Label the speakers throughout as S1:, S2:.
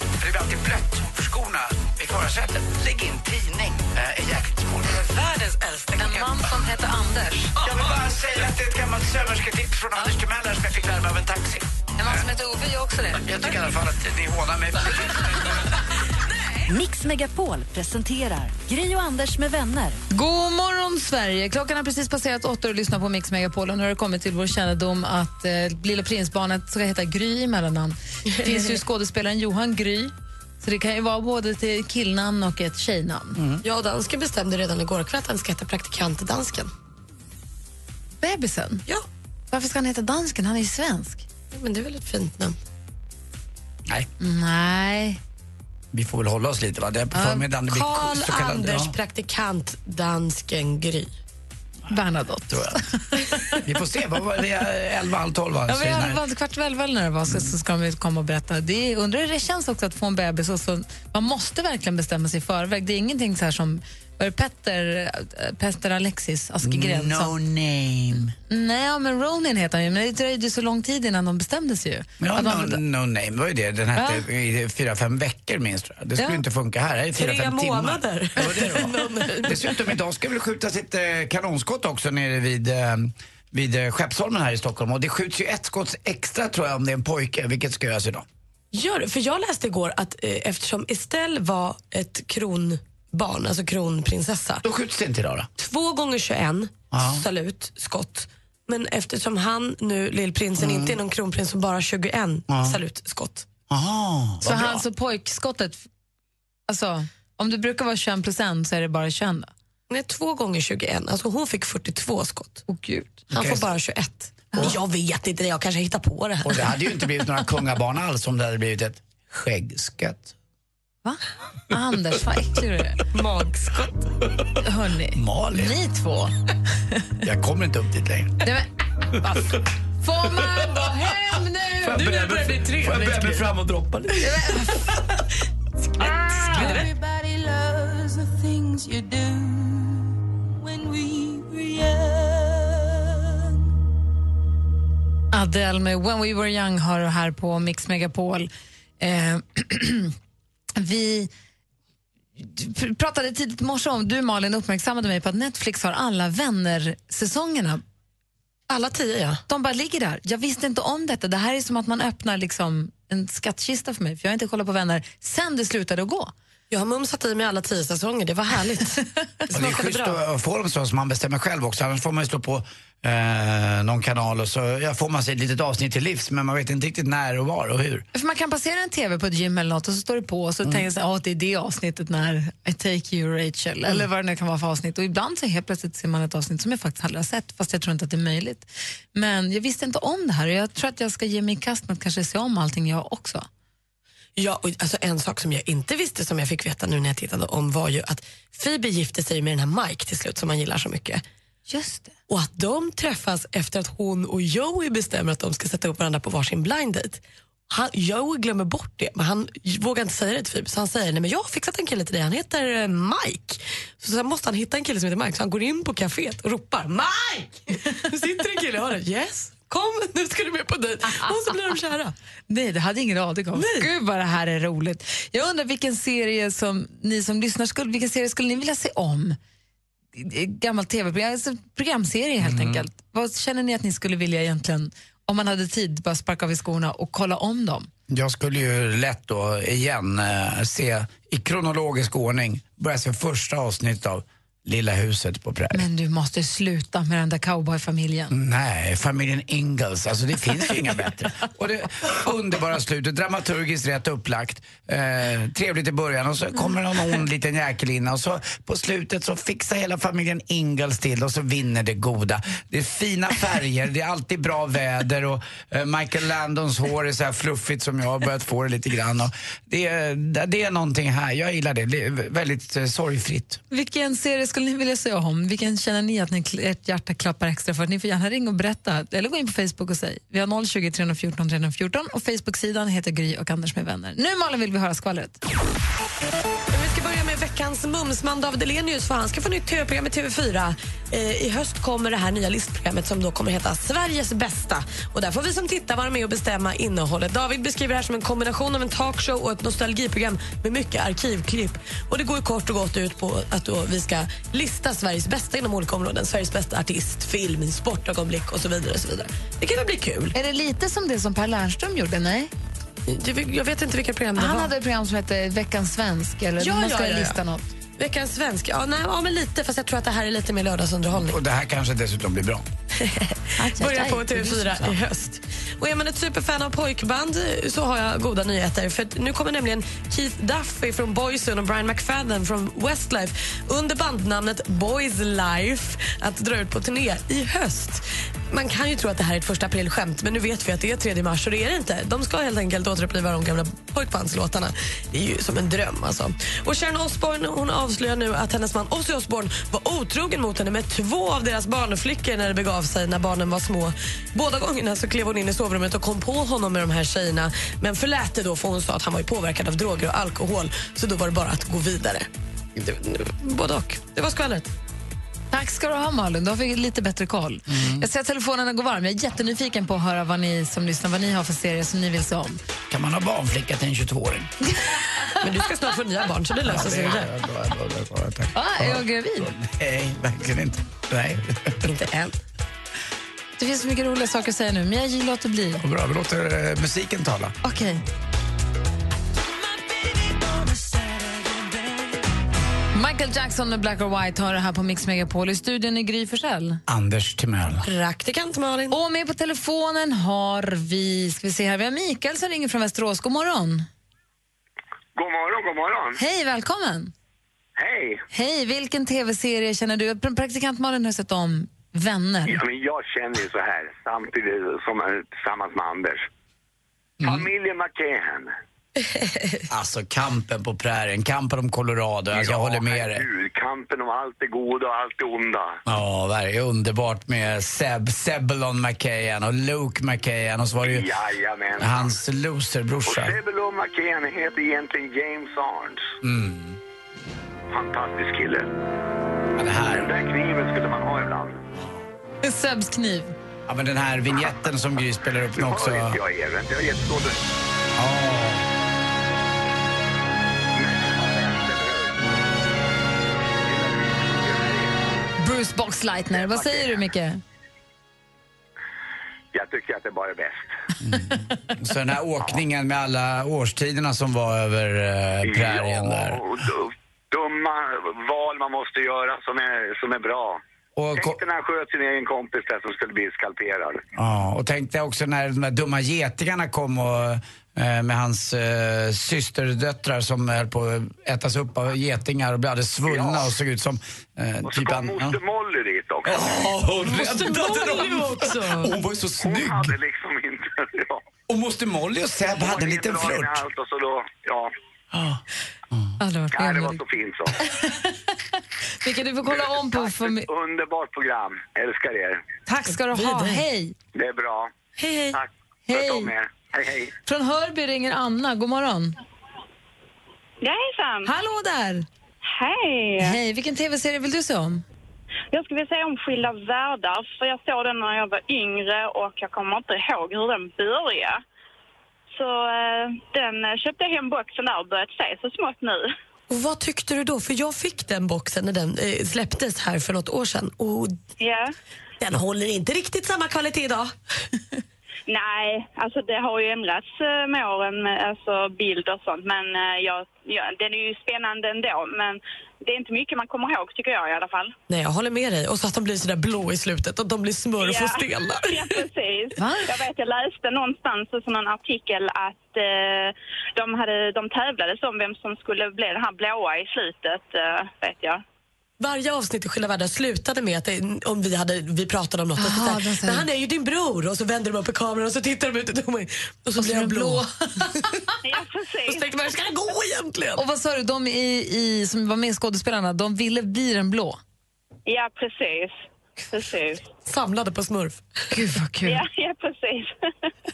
S1: För det blir alltid blött för skorna i förarsätet. Lägg in tidning, eh, är jäkligt svårt.
S2: Världens äldsta En man som heter Anders.
S1: Jag vill bara säga att det är ett gammalt sömmersketips från Anders Timell här som jag fick lära mig av en taxi.
S2: En man som heter Ove gör också det.
S1: Jag tycker i alla fall att ni hånar mig.
S3: Mix Megapol presenterar Gri och Anders med vänner.
S2: God morgon, Sverige! Klockan har precis passerat åtta och lyssnar på Mix Megapol. Och nu har det kommit till vår kännedom att eh, Lilla Prinsbarnet ska heta Gry i mellannamn. Det finns ju skådespelaren Johan Gry. Så det kan ju vara både ett killnamn och ett tjejnamn.
S1: Mm.
S4: Jag och dansken bestämde redan igår kväll att han ska heta praktikant dansken.
S2: Bebisen?
S4: Ja,
S2: Varför ska han heta dansken? Han är ju svensk.
S4: men det är väl ett fint namn.
S1: Nej,
S2: Nej.
S1: vi får väl hålla oss lite va? Det är på förmiddagen det blir
S4: Karl
S1: så kallad-
S4: Anders
S1: ja,
S4: praktikant dansken Gry.
S2: Bernadotte.
S1: tror jag. Vi får se, vad var det? Elva, halv tolv va?
S2: Ja,
S1: Så
S2: vi
S1: den
S2: hade
S1: här-
S2: valt kvart väl väl när det var, så, så ska de ju komma och berätta. Det är, undrar hur det känns också att få en bebis. Och så, man måste verkligen bestämma sig i förväg. Det är ingenting så här som var det Petter, eh, Petter Alexis Askegren
S1: No
S2: som...
S1: name.
S2: Nej, ja, men Ronin heter han ju, men det dröjde ju så lång tid innan de bestämde sig ju.
S1: Ja,
S2: Att man-
S1: no, no name var ju det. Den hette i fyra, fem veckor minst tror jag. Det skulle
S2: Ja.
S1: inte funka här. Det är fyra,
S4: Tre
S1: fem timmar.
S4: månader.
S1: Ja, det var. Dessutom idag ska väl skjutas ett eh, kanonskott också nere vid eh, vid eh, Skeppsholmen här i Stockholm och det skjuts ju ett skott extra tror jag om det är en pojke, vilket ska göras idag.
S4: Gör det, för jag läste igår att eh, eftersom Estelle var ett kronbarn, alltså kronprinsessa,
S1: Då skjuts det inte idag då?
S4: två gånger 21
S1: Ja.
S4: salut, skott. Men eftersom han nu, lillprinsen,
S1: Mm.
S4: inte är någon kronprins som bara har 21 salut, skott.
S1: Aha,
S2: så han, så pojkskottet... Alltså, om det brukar vara 21 procent så är det bara 21 då?
S4: Nej, två gånger 21. Alltså hon fick 42 skott.
S2: Åh gud.
S4: Han
S1: Okej.
S4: får bara 21. Men Jag vet inte, det. jag kanske hittar på det här.
S1: Och det hade ju inte blivit några kungabarn alls om det hade blivit ett skäggskott.
S2: Va? Anders, vad äcklig du är. Magskott. Hörni,
S1: Malin,
S2: ni två.
S1: jag kommer inte upp dit längre.
S2: Nej, men, vad f- får man gå hem nu? Nu börjar det bli
S1: Får jag böja mig fram och droppa lite?
S5: Everybody loves the things you do when we were young.
S2: Adele med When We Were Young har du här på Mix Megapol. Eh, vi pr- pratade tidigt i morse om, du Malin uppmärksammade mig på att Netflix har alla vänner-säsongerna.
S4: Alla tio, ja.
S2: De bara ligger där. Jag visste inte om detta. Det här är som att man öppnar liksom en skattkista för mig, för jag har inte kollat på vänner sen det slutade att gå.
S4: Jag har mumsat i mig alla tio säsonger, det var härligt. Det
S1: Och det är
S4: smakade
S1: schysst
S4: bra.
S1: att få dem så som man bestämmer själv också. Annars får man ju slå på eh, någon kanal och så ja, får man sig ett litet avsnitt till livs men man vet inte riktigt när och var och hur.
S2: För man kan passera en tv på ett gym eller något och så står det på och så tänker jag så här, "Ah, det är det avsnittet när I take you Rachel eller vad det nu kan vara för avsnitt och ibland så helt plötsligt ser man ett avsnitt som jag faktiskt aldrig har sett fast jag tror inte att det är möjligt. Men jag visste inte om det här och jag tror att jag ska ge mig i kast med att kanske se om allting jag också.
S4: Ja, och alltså en sak som jag inte visste som jag fick veta nu när jag tittade om var ju att Phoebe gifte sig med den här Mike till slut som man gillar så mycket.
S2: Just det.
S4: Och att de träffas efter att hon och Joey bestämmer att de ska sätta upp varandra på varsin blind date. Han, Joey glömmer bort det, men han vågar inte säga det till Phoebe. Så han säger, nej men jag har fixat en kille till dig, han heter eh, Mike. Så sen måste han hitta en kille som heter Mike, så han går in på kaféet och ropar Mike! Nu sitter en kille och hör yes, kom nu ska du med på dejt. Och så blir de kära.
S2: Nej, det hade jag ingen aning om. Gud vad det här är roligt. Jag undrar vilken serie som ni som lyssnar, skulle, vilken serie skulle ni vilja se om? Gammal tv-program, alltså programserie
S4: Mm.
S2: helt enkelt. Vad känner ni att ni skulle vilja egentligen, om man hade tid, bara sparka av i skorna och kolla om dem?
S1: Jag skulle ju lätt då igen eh, se i kronologisk ordning börja se första avsnitt av Lilla huset på prärien.
S2: Men du måste sluta med den där cowboyfamiljen.
S1: Nej, familjen Ingalls. Alltså det finns ju inga bättre. Och det underbara slutet, dramaturgiskt rätt upplagt. Eh, trevligt i början och så kommer någon ond liten jäkel in och så på slutet så fixar hela familjen Ingalls till och så vinner det goda. Det är fina färger, det är alltid bra väder och eh, Michael Landons hår är så här fluffigt som jag har börjat få det lite grann. Och det, är- det är någonting här, jag gillar det. Det är väldigt eh, sorgfritt.
S2: Vilken serie skulle ni vilja se om? Vilken känner ni att ni, ert hjärta klappar extra för? Ni får gärna ringa och berätta eller gå in på Facebook och säg. Vi har 020 314 314 och Facebook-sidan heter Gry och Anders med vänner. Nu Malin vill vi höra skvallret.
S4: Vi ska börja med veckans mumsman David Elenius för han ska få nytt tv-program i TV4. Eh, I höst kommer det här nya listprogrammet som då kommer heta Sveriges bästa. Och där får vi som tittar vara med och bestämma innehållet. David beskriver det här som en kombination av en talkshow och ett nostalgiprogram med mycket arkivklipp. Och det går ju kort och gott ut på att då vi ska lista Sveriges bästa inom olika områden. Sveriges bästa artist, film, sportögonblick och så vidare. Och så vidare. Det kan väl bli kul.
S2: Är det lite som det som Per Lernström gjorde? Nej?
S4: Jag- Jag vet inte vilka program det
S2: Han
S4: var.
S2: hade ett program som hette Veckans svensk eller
S4: Ja,
S2: man
S4: ja,
S2: ska
S4: ja, ja.
S2: lista något.
S4: Veckans svensk? Ja, nej, ja, men lite. Fast jag tror att det här är lite mer lördagsunderhållning.
S1: Och det här kanske dessutom blir bra.
S2: Aj, aj,
S4: Börjar
S2: aj.
S4: på
S2: Det är
S4: TV4
S2: så
S4: i
S2: sant.
S4: höst. Och är man ett superfan av pojkband eh, så har jag goda nyheter. För att nu kommer nämligen Keith Duffy från Boyzone och Brian McFadden från Westlife under bandnamnet Boys Life att dra ut på turné i höst. Man kan ju tro att det här är ett första april-skämt men nu vet vi att det är 3 mars och det är det inte. De ska helt enkelt återuppliva de gamla pojkbandslåtarna. Det är ju som en dröm alltså. Och Sharon Osbourne hon avslöjar nu att hennes man Ozzy Osbourne var otrogen mot henne med två av deras barnflickor när det begav sig när barnen var små. Båda gångerna så klev hon in i sovrummet och kom på honom med de här tjejerna men förlät det då för hon sa att han var ju påverkad av droger och alkohol så då var det bara att gå vidare. Det- Både och. Det var skvallret.
S2: Tack ska du ha Malin, då har vi lite bättre koll. Jag ser att telefonerna går varm. Jag är jättenyfiken på att höra vad ni som lyssnar vad ni har för serier som ni vill se om.
S1: Kan man ha barnflicka till en 22-åring?
S4: Men du ska snart få nya barn så det löser sig. det.
S2: Ah, är jag gravid?
S1: Nej, verkligen inte. Nej.
S4: Inte än.
S2: Det finns så mycket roliga saker att säga nu, men jag låter bli.
S1: Bra, vi låter eh, musiken tala.
S2: Okej. Michael Jackson med Black or White har det här på Mix Megapol. I studion är Gry Forssell.
S1: Anders Timell.
S4: Praktikant Malin.
S2: Och med på telefonen har vi, ska vi se här, vi har Mikael som ringer från Västerås. God morgon.
S6: God morgon, god morgon.
S2: Hej, välkommen.
S6: Hej.
S2: Hej, vilken tv-serie känner du? Pr- Praktikant Malin har sett om Vänner.
S6: Ja, men jag känner ju så här, samtidigt som eh, tillsammans med Anders.
S1: Mm.
S6: Familjen McCann.
S1: Alltså kampen på prärien, kampen om Colorado. Alltså, jag håller med dig.
S6: herregud, Kampen om allt det goda och allt det onda.
S1: Ja, det är underbart med Seb, Sebulon McKayan och Luke McKayan och så var det ju
S6: Jajamän.
S1: hans
S6: Och
S1: loserbrorsa.
S6: Sebulon McCann heter egentligen James Arns.
S1: Mm.
S6: Fantastisk kille.
S1: Ja, det här.
S6: Den där kniven skulle man ha ibland.
S2: Sebs kniv.
S1: Ja, men den här vignetten som Gry spelar upp nu
S6: Nu
S1: också.
S6: hör inte jag er, vänta, jag är jättedålig.
S1: Ja.
S2: Bruce Boxleitner. Vad säger du, Micke?
S6: Jag tycker att det bara är bäst.
S1: Så den här åkningen med alla årstiderna som var över eh, prärien där.
S6: och d- dumma val man måste göra som är, som är bra.
S1: Och, ko-
S6: Tänk när han sköt sin egen kompis där som skulle bli skalperad.
S1: Ja, och tänkte också när de där dumma getingarna kom och, eh, med hans eh, systerdöttrar som höll på att ätas upp av getingar och blev alldeles svullna
S6: Ja.
S1: och såg ut som... Eh,
S6: Och så kom moster Molly dit också.
S1: hon räddade dem!
S4: också.
S1: Hon var ju så
S6: Hon
S1: snygg!
S6: hade liksom inte... Ja.
S1: Och moster Molly och Seb
S6: Hon
S1: hade en
S6: var
S1: liten
S6: jättebra i
S1: flört.
S6: allt Och så då, ja.
S2: Aldrig varit
S6: Nej,
S2: med
S6: det
S2: om
S6: var
S2: det.
S6: så fint så.
S2: Micke, du får kolla om på... Fami-
S6: Underbart program. Älskar er.
S2: Tack ska du ha. Hej!
S6: Det är bra.
S4: Hej, hej.
S6: Tack.
S2: Hej.
S6: Sköt om er. Hej, hej.
S2: Från Hörby ringer Anna. God morgon.
S3: Ja, Hejsan!
S2: Hallå där!
S3: Hej!
S2: Hej, vilken tv-serie vill du se om?
S3: Jag skulle vilja säga om Skilda världar, för jag såg den när jag var yngre och jag kommer inte ihåg hur den började. Så eh, den eh, köpte jag hem boxen där och börjat se så smått nu.
S4: Och vad tyckte du då? För jag fick den boxen när den eh, släpptes här för något år sedan och
S3: Ja.
S4: den håller inte riktigt samma kvalitet idag.
S6: Nej, alltså det har ju ändrats eh, med åren, med, alltså bild och sånt. Men eh, ja, ja, den är ju spännande ändå. Men det är inte mycket man kommer ihåg tycker jag i alla fall.
S7: Nej, jag håller med dig. Och så att de blir sådär blå i slutet, att de blir smurf och stela.
S6: Ja, precis. Jag vet, jag läste någonstans i någon artikel att eh, de, hade, de tävlades om vem som skulle bli den här blåa i slutet, eh, vet jag.
S7: Varje avsnitt i Skilda världar slutade med att det, om vi, hade, vi pratade om något. och så
S2: Jaha,
S7: såhär,
S2: de säger-
S7: men han är ju din bror. Och så vänder de upp i kameran och så tittar de ut i tomheten. Och så blir han blå.
S6: Ja, precis.
S7: Och så tänkte man, hur ska det gå egentligen?
S2: Och vad sa du, de i, i, som var med skådespelarna, de ville bli den blå?
S6: Ja, precis. Precis.
S7: Samlade på smurf.
S2: Gud vad kul.
S6: Ja, ja precis.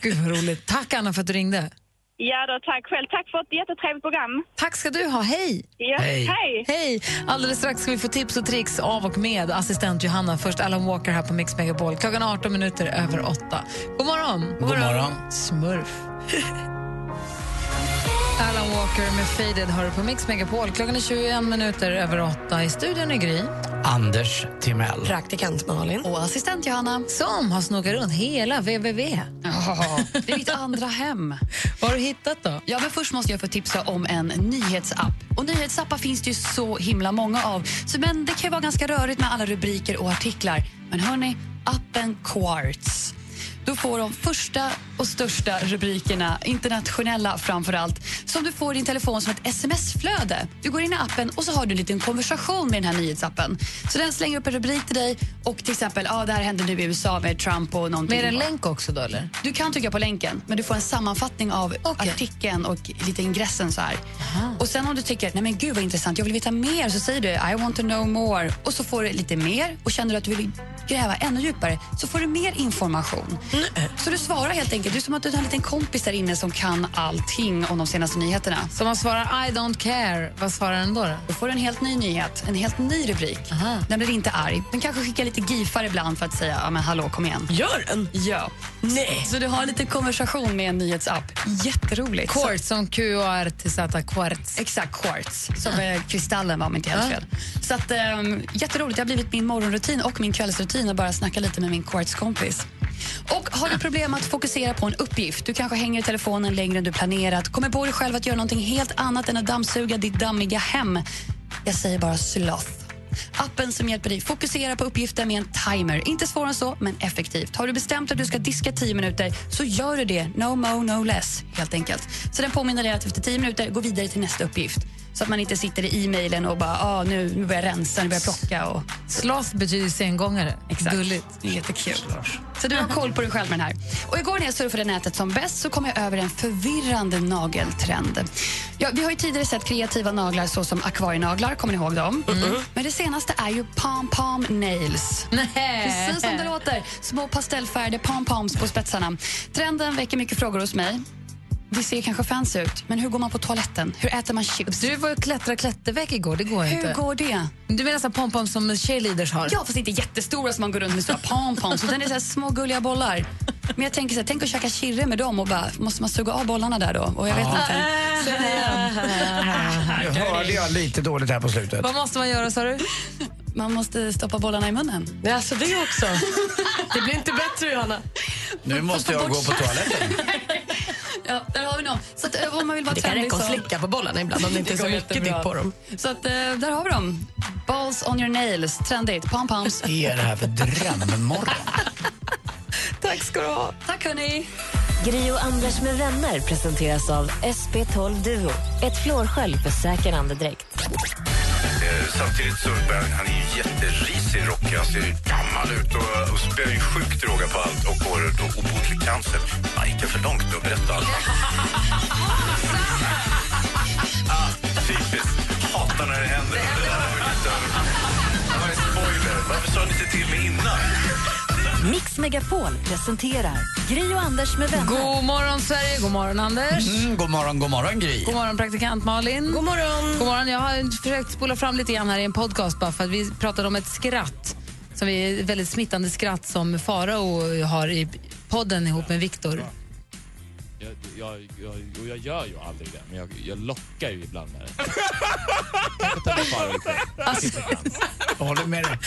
S2: Gud vad roligt. Tack Anna för att du ringde.
S6: Ja då, tack själv. Tack för ett jättetrevligt program.
S2: Tack ska du ha, hej!
S6: Ja,
S1: Hej.
S6: hej.
S2: Hej! Alldeles strax ska vi få tips och tricks av och med assistent Johanna. Först Alan Walker här på Mix Megapol. Klockan är 18 minuter över 8. God morgon!
S1: God morgon.
S2: Smurf. Alan Walker med Faded hör du på Mix Megapol. Klockan är 21 minuter över 8. I studion är Gry.
S1: Anders Timell.
S7: Praktikant Malin.
S4: Och assistent Johanna.
S2: Som har snokat runt hela www.
S4: Det är mitt andra hem.
S2: Vad har du hittat då?
S4: Ja, men först måste jag få tipsa om en nyhetsapp. Och Nyhetsappar finns det ju så himla många av. Så, men det kan ju vara ganska rörigt med alla rubriker och artiklar. Men hörni, appen Quartz. Du får de första och största rubrikerna, internationella framför allt, som du får i din telefon som ett sms-flöde. Du går in i appen och så har du en liten konversation med den här nyhetsappen. Så den slänger upp en rubrik till dig och till exempel, ja, ah, det här hände nu i USA med Trump och någonting.
S2: Med en länk också då eller?
S4: Du kan trycka på länken, men du får en sammanfattning av artikeln och lite ingressen. så här. Och sen om du tycker nej men gud vad intressant, jag vill veta mer, så säger du I want to know more. Och så får du lite mer och känner du att du vill gräva ännu djupare så får du mer information.
S7: Mm.
S4: Så du svarar helt enkelt. Du är som att du har en liten kompis där inne som kan allting om de senaste nyheterna.
S2: Så man svarar I don't care. Vad svarar den då? då?
S4: Då får du en helt ny nyhet, en helt ny rubrik.
S2: Aha.
S4: Den blir inte arg. Den kanske skickar lite gifar ibland för att säga ja, men hallå, kom igen.
S7: Gör den?
S4: Ja.
S7: Nej.
S4: Så du har en liten konversation med en nyhetsapp. Jätteroligt. Så-
S2: Quartz som Q-A-R-T-Z, quartz.
S4: Exakt, quartz. Som eh, kristallen var, om inte helt fel. Så att, ehm, jätteroligt. Det har blivit min morgonrutin och min kvällsrutin att bara snacka lite med min quartz-kompis. Och har du problem med att fokusera på en uppgift, du kanske hänger i telefonen längre än du planerat, kommer på dig själv att göra någonting helt annat än att dammsuga ditt dammiga hem. Jag säger bara sloth. Appen som hjälper dig fokusera på uppgiften med en timer. Inte svårare än så, men effektivt. Har du bestämt att du ska diska 10 minuter så gör du det. No more, no less, helt enkelt. Så den påminner dig att efter 10 minuter, gå vidare till nästa uppgift. Så att man inte sitter i e-mailen och bara, ah, nu, nu börjar jag rensa, nu börjar jag plocka. Och...
S2: Sloth betyder sengångare. Gulligt.
S4: Det är Jättekul. Så du har koll på dig själv med den här. Och igår när jag surfade nätet som bäst så kom jag över en förvirrande nageltrend. Ja, vi har ju tidigare sett kreativa naglar såsom akvarienaglar, kommer ni ihåg dem? Men det senaste är ju pom-pom nails.
S2: Nej.
S4: Precis som det låter. Små pastellfärgade pom-poms på spetsarna. Trenden väcker mycket frågor hos mig. Det ser kanske fancy ut, men hur går man på toaletten? Hur äter man chips?
S2: Du var ju klättra klätterväck igår, det går inte.
S4: Hur går det?
S2: Du menar så här pompom som cheerleaders har?
S4: Ja, fast inte jättestora som man går runt med stora pompoms utan det är så här små gulliga bollar. Men jag tänker så här, tänk att käka kirre med dem och bara, måste man suga av bollarna där då? Och jag vet inte.
S1: Nu hörde jag lite dåligt här på slutet.
S2: Vad måste man göra sa du?
S4: Man måste stoppa bollarna i munnen.
S7: Nej, alltså det också. Det blir inte bättre, Johanna.
S1: Nu måste jag gå på toaletten.
S4: Ja, där har vi dem. Så att, eh, om man vill vara
S7: Det kan
S4: trendig
S7: räcka att
S4: så...
S7: slicka på bollarna ibland om det inte är så mycket dipp på dem.
S4: Så att, eh, där har vi dem. Balls on your nails, trendigt. Pompoms.
S1: Vad är det här för drömmorgon?
S4: Tack ska du ha. Tack hörni.
S3: Gri och Anders med vänner presenteras av SP12 Duo. Ett flårskölj för säker andedräkt.
S8: Eh, Samtidigt så bär han är ju jätterisig, rockig, han ser gammal ut och, och spär ju sjukt droga på allt och får då obotlig cancer. Man gick jag för långt nu och berättade allt. ah, typiskt. Hatar när det händer. Det där var ju lite... Det var en spoiler. Varför sa ni inte till mig innan?
S3: Mix Megapol presenterar Gri och Anders med vänner.
S2: God morgon Sverige, god morgon Anders.
S1: Mm, god morgon, god morgon Gry.
S2: God morgon praktikant Malin. God morgon. God morgon. Jag har försökt spola fram lite grann här i en podcast bara för att vi pratade om ett skratt som är ett väldigt smittande skratt som Farao har i podden ihop med Viktor.
S9: Jag, jag, jag, och jag gör ju aldrig det, men jag, jag lockar ju ibland med det. Tänk att ta med Farao ikväll.
S1: Alltså, jag håller med dig.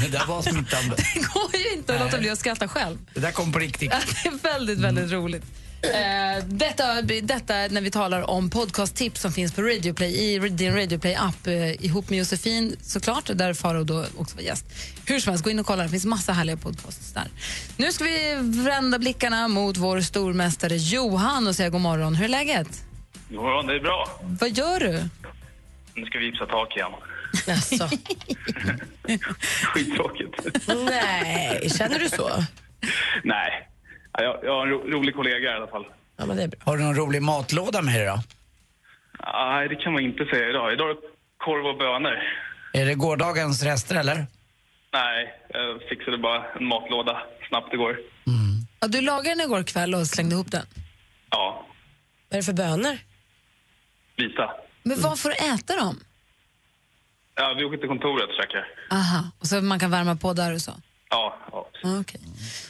S1: Det där var smittande.
S2: Det går ju inte att låta bli att skratta själv.
S1: Det där kom på riktigt.
S2: Ja, det är väldigt, väldigt roligt. Eh, detta, detta när vi talar om podcasttips som finns på Radioplay i din Radioplay-app eh, ihop med Josefin såklart, där Faro då också var gäst. Hur som helst, gå in och kolla, det finns massa härliga podcasts där. Nu ska vi vända blickarna mot vår stormästare Johan och säga god morgon. Hur är läget?
S6: God morgon, det är bra.
S2: Vad gör du?
S6: Nu ska vi gipsa tak igen.
S2: Alltså.
S6: Skittråkigt.
S4: Nej, känner du så?
S6: Nej, Ja, jag, jag har en ro, rolig kollega i alla fall.
S4: Ja, men det är bra.
S1: Har du någon rolig matlåda med dig då?
S6: Nej, det kan man inte säga idag. Idag är det korv och bönor.
S1: Är det gårdagens rester eller?
S6: Nej, jag fixade bara en matlåda snabbt igår.
S2: Ja, du lagade den igår kväll och slängde ihop den.
S6: Ja,
S2: Vad är det för bönor?
S6: vita.
S2: Men vad får du äta dem?
S6: Ja, vi åker till kontoret och käkar.
S2: Aha, och så man kan värma på där och så.
S6: Ja, ja.
S2: Ah, okej.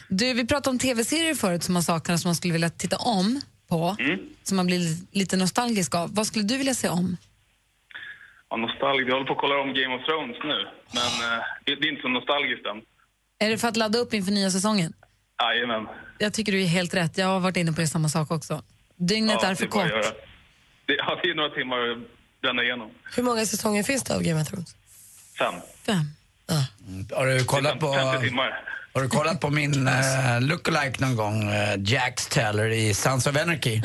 S2: Du, vi pratade om tv-serier förut som man saknar som man skulle vilja titta om på,
S6: Mm.
S2: som man blir li- lite nostalgisk av. Vad skulle du vilja se om?
S6: ja nostalgiskt. Jag håller på att kolla om Game of Thrones nu, men eh, det, det är inte så nostalgiskt än.
S2: Är det för att ladda upp inför nya säsongen?
S6: Jajamän.
S2: Jag tycker du är helt rätt. Jag har varit inne på det samma sak också. Dygnet
S6: Ja,
S2: är för
S6: det bara att
S2: kort.
S6: göra. Det, ja, det är några timmar att bränna igenom.
S4: Hur många säsonger finns det av Game of Thrones?
S6: Fem.
S2: Fem.
S1: Har du kollat på,
S6: 50 timmar.
S1: har du kollat på min uh, lookalike någon gång? eh, Jax Teller i Sons of Anarchy.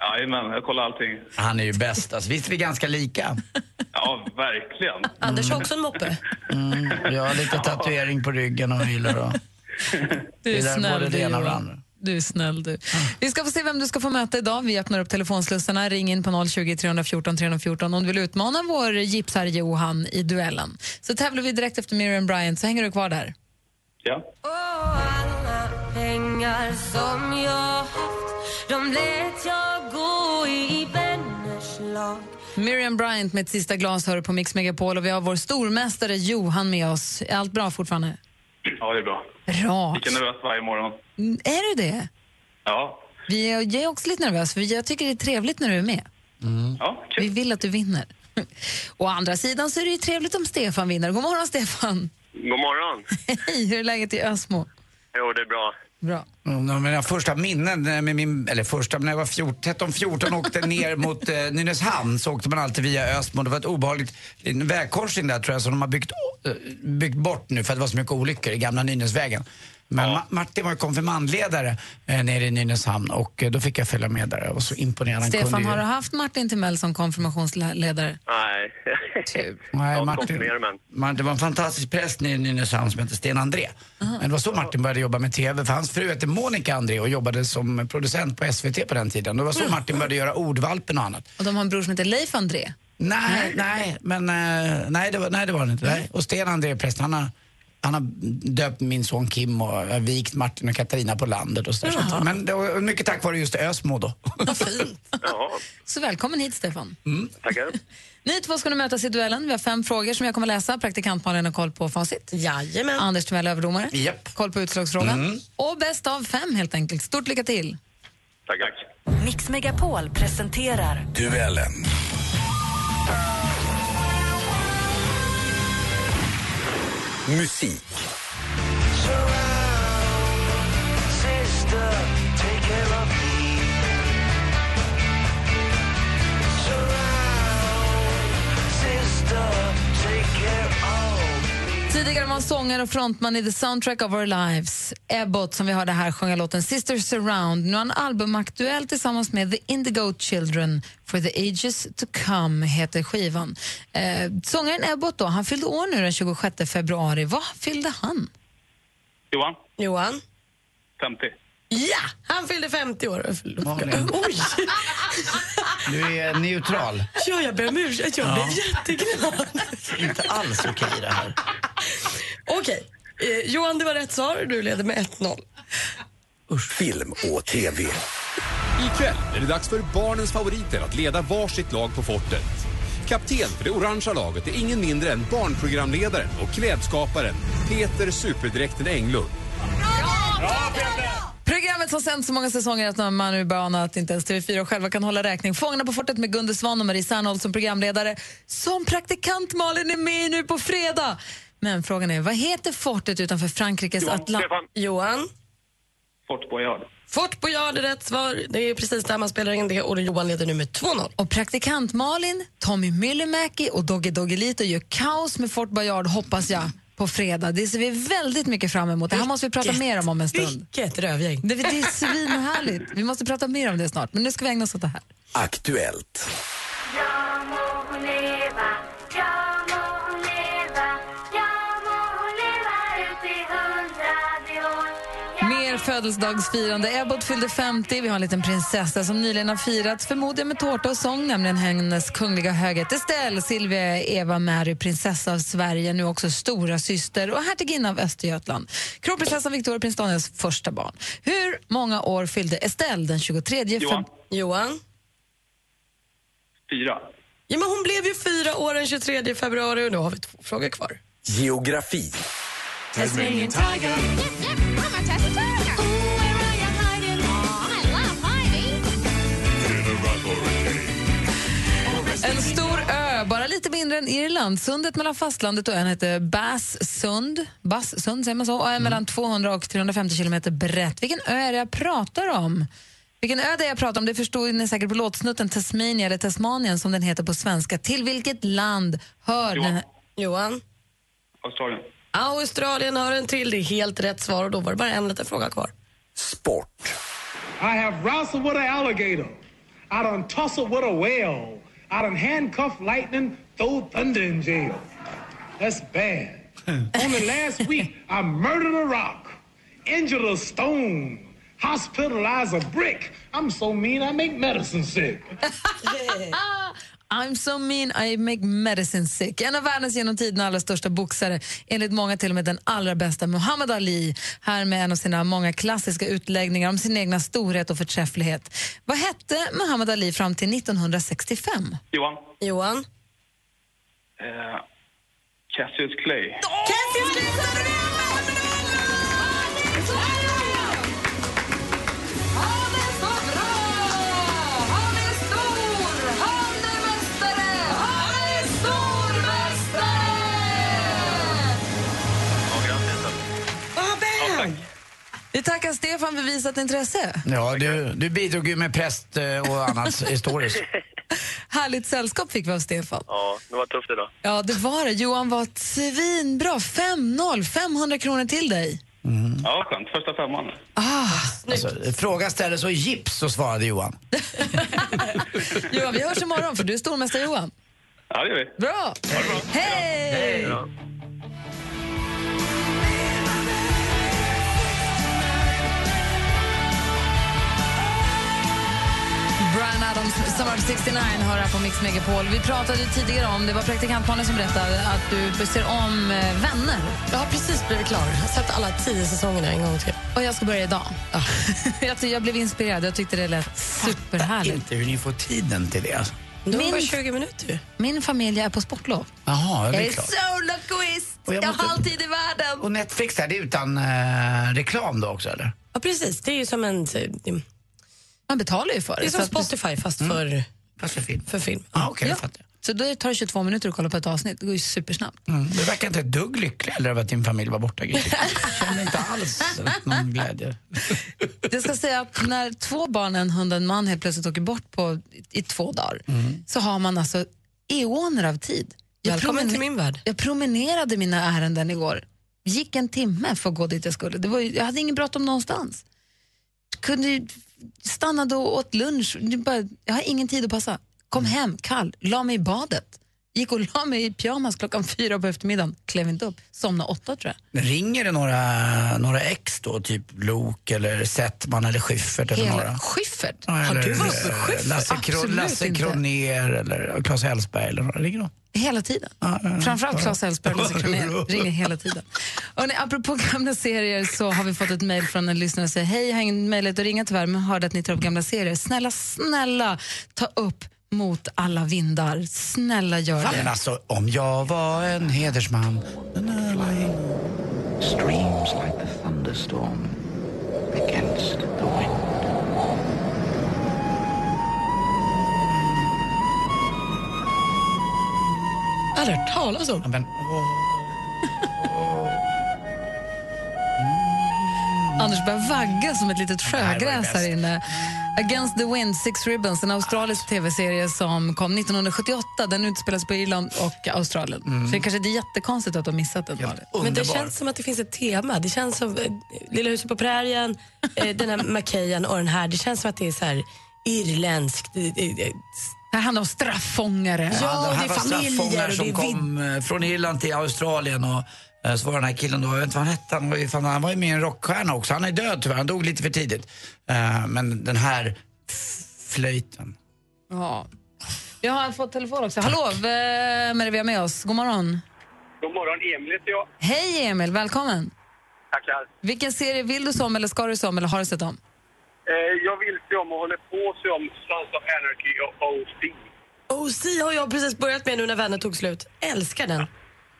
S6: Jajamän, jag kollar allting.
S1: Han är ju bäst. Alltså, visst är vi ganska lika?
S6: Ja, verkligen.
S4: Anders har också en moppe.
S1: Mm, jag har lite tatuering på ryggen och gillar och
S2: Du är
S1: gillar både
S2: snäll
S1: det
S2: du,
S1: ena och det
S2: Johan.
S1: andra.
S2: Du är snäll du. Vi ska få se vem du ska få möta idag. Vi öppnar upp telefonslussarna. Ring in på 020 314 314 om du vill utmana vår gipsare Johan i duellen. Så tävlar vi direkt efter Miriam Bryant, så hänger du kvar där.
S6: Ja.
S10: Pengar som jag haft, de lät jag gå i vänners lag
S2: Miriam Bryant med ett sista glas hör på Mix Megapol och vi har vår stormästare Johan med oss. Är allt bra fortfarande?
S6: Ja, det är bra.
S2: Bra.
S6: Lika nervös varje morgon.
S2: Mm, Är du det?
S6: Ja.
S2: Vi är, jag är också lite nervös, för jag tycker det är trevligt när du är med.
S6: Ja,
S1: Typ.
S2: Vi vill att du vinner. Å andra sidan så är det ju trevligt om Stefan vinner. God morgon, Stefan!
S11: God morgon.
S2: Hej, hur är läget i Ösmo?
S11: Jo, det är bra.
S2: Bra.
S1: Mm, av mina första minnen eh, med min, eller första, men när jag var 14, 13-14 åkte ner mot eh, Nynäshamn så åkte man alltid via Östmo. Det var ett obehagligt en vägkorsning där tror jag som de har byggt, å- eh, byggt bort nu för att det var så mycket olyckor i gamla Nynäsvägen. Men Ma- Martin var ju konfirmandledare eh, nere i Nynäshamn och eh, då fick jag följa med där. Jag var så imponerad. Han kunde
S2: Stefan,
S1: ju-
S2: har du haft Martin Timell som konfirmationsledare?
S11: Nej.
S1: Eh, Nej,
S11: Jag
S1: Martin,
S11: konfirmerar
S1: man, det var en fantastisk präst nere i Nynäshamn som hette Sten André. Men det var så Martin började jobba med TV, för hans fru hette Monica André och jobbade som producent på SVT på den tiden. Det var så Martin började göra Ordvalpen och annat.
S2: Och de har en bror som heter Leif André.
S1: Nej, nej, men eh, nej, det var, nej, det var det inte. Nej. Och Sten André, präst, han har, han har döpt min son Kim och eh, vigt Martin och Katarina på landet och sådär. Så att- Men det var mycket tack vare just Ösmo då.
S2: Så välkommen hit, Stefan.
S1: Mm.
S11: Tackar.
S2: Ni två ska nu mötas i duellen. Vi har fem frågor som jag kommer läsa. Praktikant Malin har koll på facit.
S4: Jajamän.
S2: Anders Timell överdomare.
S1: Japp.
S2: Koll på utslagsfrågan.
S4: Mm.
S2: Och bäst av fem helt enkelt. Stort lycka till.
S6: Tackar.
S12: Mix Megapol presenterar
S13: Duellen. Musik.
S10: Sister, take care of me Surround, sister, take care of
S2: Tidigare var han sångare och frontman i The Soundtrack of Our Lives. Ebbot, som vi hörde här, sjöng låten Sister Surround. Nu har han albumaktuell tillsammans med The Indigo Children. For the ages to come heter skivan. Eh, sångaren Ebbot då, han fyllde år nu den 26 februari. Vad fyllde han?
S6: Johan,
S4: Johan?
S6: 50.
S4: Ja! Han fyllde 50 år. Förlåt. Oj!
S1: Du är neutral.
S4: Ja, jag ber om ursäkt. Jag
S1: Ja.
S4: blev jätteglad.
S1: Inte alls okej det här.
S4: Okej. Eh, Johan, det var rätt svar. Du leder med 1-0.
S13: Film och TV.
S8: Ikväll är det dags för barnens favoriter att leda varsitt lag på fortet. Kapten för det orangea laget är ingen mindre än barnprogramledaren och klädskaparen Peter Superdräkten Englund.
S2: Programmet Programmet har sänts så många säsonger att man är bana att inte ens TV4 själva kan hålla räkning. Fångarna på fortet med Gunde Svan och Marie Serneholt som programledare. Som praktikant Malin är med i nu på fredag. Men frågan är, vad heter fortet utanför Frankrikes
S4: Johan,
S2: Atlant...
S4: Stefan. Johan?
S14: Fort Boyard.
S4: Fort Boyard är rätt svar. Det är precis där man spelar in det och Johan leder nu med 2-0.
S2: Och praktikant Malin, Tommy Myllymäki och Dogge Doggelito gör kaos med Fort Boyard, hoppas jag, på fredag. Det ser vi väldigt mycket fram emot. Det här måste vi prata
S4: Vilket-
S2: mer om om en stund.
S4: Vilket rövgäng.
S2: Det, det är svinhärligt. Vi måste prata mer om det snart, men nu ska vi ägna oss åt det här.
S15: Aktuellt.
S2: Mer födelsedagsfirande. Ebbot fyllde 50. Vi har en liten prinsessa som nyligen har firats, förmodligen med tårta och sång, nämligen hennes kungliga höghet Estelle, Silvia Eva Mary, prinsessa av Sverige, nu också stora syster och hertiginna av Östergötland. Kronprinsessan Victoria, prins Daniels första barn. Hur många år fyllde Estelle den 23
S14: Johan.
S4: Johan?
S14: Fyra.
S4: Ja, men hon blev ju fyra år den 23 februari och nu har vi två frågor kvar.
S15: Geografi.
S4: Tasmanian
S2: En stor ö, bara lite mindre än Irland. Sundet mellan fastlandet och ön heter Basssund. Basssund säger man så. Och är mellan 200 och 350 kilometer brett. Vilken ö är det jag pratar om? Vilken ö det är jag pratar om det förstod ni säkert på låtsnutten Tasmania eller Tasmanien som den heter på svenska. Till vilket land hör
S14: Johan.
S2: den här...
S4: Johan?
S14: Australien.
S4: Australien har en till. Det är helt rätt svar och då var det bara en liten fråga kvar.
S15: Sport.
S16: I have wrestled with an alligator. I done tussled with a whale. I done handcuffed lightning, throw thunder in jail. That's bad. Only last week, I murdered a rock, injured a stone, hospitalized a brick. I'm so mean, I make medicine sick.
S2: Ah, I'm so mean I make medicine sick. En av världens genom tiderna allra största boxare, enligt många till och med den allra bästa, Muhammad Ali, här med en av sina många klassiska utläggningar om sin egna storhet och förträfflighet. Vad hette Muhammad Ali fram till 1965?
S14: Johan.
S4: Johan?
S14: Eh, Cassius Clay.
S2: Vi tackar Stefan för visat intresse.
S1: Ja, du, du bidrog ju med präst eh, och annat historiskt.
S2: Härligt sällskap fick vi av Stefan.
S6: Ja, det var tufft idag.
S2: Ja, det var det. Johan var svinbra. 5-0, 500 kronor till dig.
S14: Ja, skönt. Första femman.
S2: Ah,
S1: Alltså, fråga ställdes och gips så svarade Johan.
S2: Johan, vi hörs imorgon för du är stormästare Johan.
S14: Ja, det gör vi.
S2: Bra! Hej! Brian Adams, Summer of 69, hör här på Mix Megapol. Vi pratade ju tidigare om, det var praktikantmannen som berättade, att du ser om eh, Vänner.
S4: Jag har precis blivit klar. Jag har sett alla tio säsongerna en gång till.
S2: Och jag ska börja idag. jag, ty- jag blev inspirerad, jag tyckte det lät superhärligt.
S1: Inte hur ni får tiden till det. alltså.
S4: Det var bara 20 minuter.
S2: Min familj är på sportlov.
S1: Jaha, det
S2: jag
S1: är
S2: är
S1: klart.
S2: så lockist! Jag, har alltid i världen.
S1: Och Netflix här, det är utan eh, reklam då också eller?
S4: Ja, precis. Det är ju som en...
S2: Man betalar ju för det.
S4: Det är som
S2: så att-
S4: Spotify fast för...
S1: Fast för film.
S4: För film.
S1: Ah, okay, jag fattar.
S2: Så då tar det 22 minuter att kolla på ett avsnitt. Det går ju supersnabbt.
S1: Mm. Du verkar inte ett dugg lycklig eller över att din familj var borta. Gry. Jag känner inte alls någon glädje.
S2: Jag ska säga att när två barn, en hund och en man helt plötsligt åker bort på, i två dagar så har man alltså eoner av tid.
S4: Välkommen
S2: promene-
S4: till min värld.
S2: Jag promenerade mina ärenden igår. Gick en timme för att gå dit jag skulle. Det var, ju- jag hade ingen bråttom någonstans. Kunde ju- stannade och åt lunch. Det är Bara, jag har ingen tid att passa. Kom
S4: Mm.
S2: hem kall, la mig i badet. Gick och la mig i pyjamas klockan fyra på eftermiddagen. Klev inte upp. Somnade åtta tror jag.
S1: Ringer det några, några ex då, typ Lok eller Settman eller Schyffert eller några?
S2: Hela Schyffert.
S1: Ja, eller, eh, Lasse, Kro-
S2: Absolut
S1: Lasse
S2: inte.
S1: Kronér eller Claes Hellsberg eller några. Ringer de?
S2: Hela tiden.
S4: Mm.
S2: Framförallt Claes Hellsberg och Lasse Kronér ringer hela tiden. Och apropå gamla serier så har vi fått ett mejl från en lyssnare som säger hej, jag har ingen möjlighet att ringa tyvärr men hörde att ni tar upp gamla serier. Snälla, snälla ta upp mot alla vindar. Snälla gör
S1: Fan, men
S2: det.
S1: alltså, om jag var en hedersman...
S15: Streams like the thunderstorm.
S6: against the wind.
S4: Aldrig hört talas om.
S1: Men,
S2: Anders börjar vagga som ett litet
S4: här var ju
S2: sjögräs här
S4: bäst.
S2: inne. Against the Wind, Six Ribbons, en australisk tv-serie som kom 1978. Den utspelas på Irland och Australien.
S4: Mm.
S2: Så det kanske inte är jättekonstigt att de missat den.
S4: Men det känns som att det finns ett tema. Det känns som eh, Lilla huset på prärien, eh, den här Macahan och den här. Det känns som att det är så här irländskt. eh, eh,
S2: Det här handlar om straffångare.
S1: det här var straffångar som kom eh, från Irland till Australien och eh, så var den här killen då, jag vet inte vad han hette, han var ju, fan, han var ju med i en rockstjärna också. Han är död tyvärr, han dog lite för tidigt. Eh, Men den här f- flöjten.
S2: Ja. Jag har fått telefon också. Hallå, vem är det vi har med oss? God morgon.
S17: God morgon, Emil heter jag.
S2: Hej Emil, välkommen.
S17: Tackar.
S2: Vilken serie vill du se om eller ska du se om eller har du sett om?
S17: Eh, jag vill se om och håller på att se om Sons of Anarchy och OC.
S4: OC har jag precis börjat med nu när vänner tog slut. Älskar den.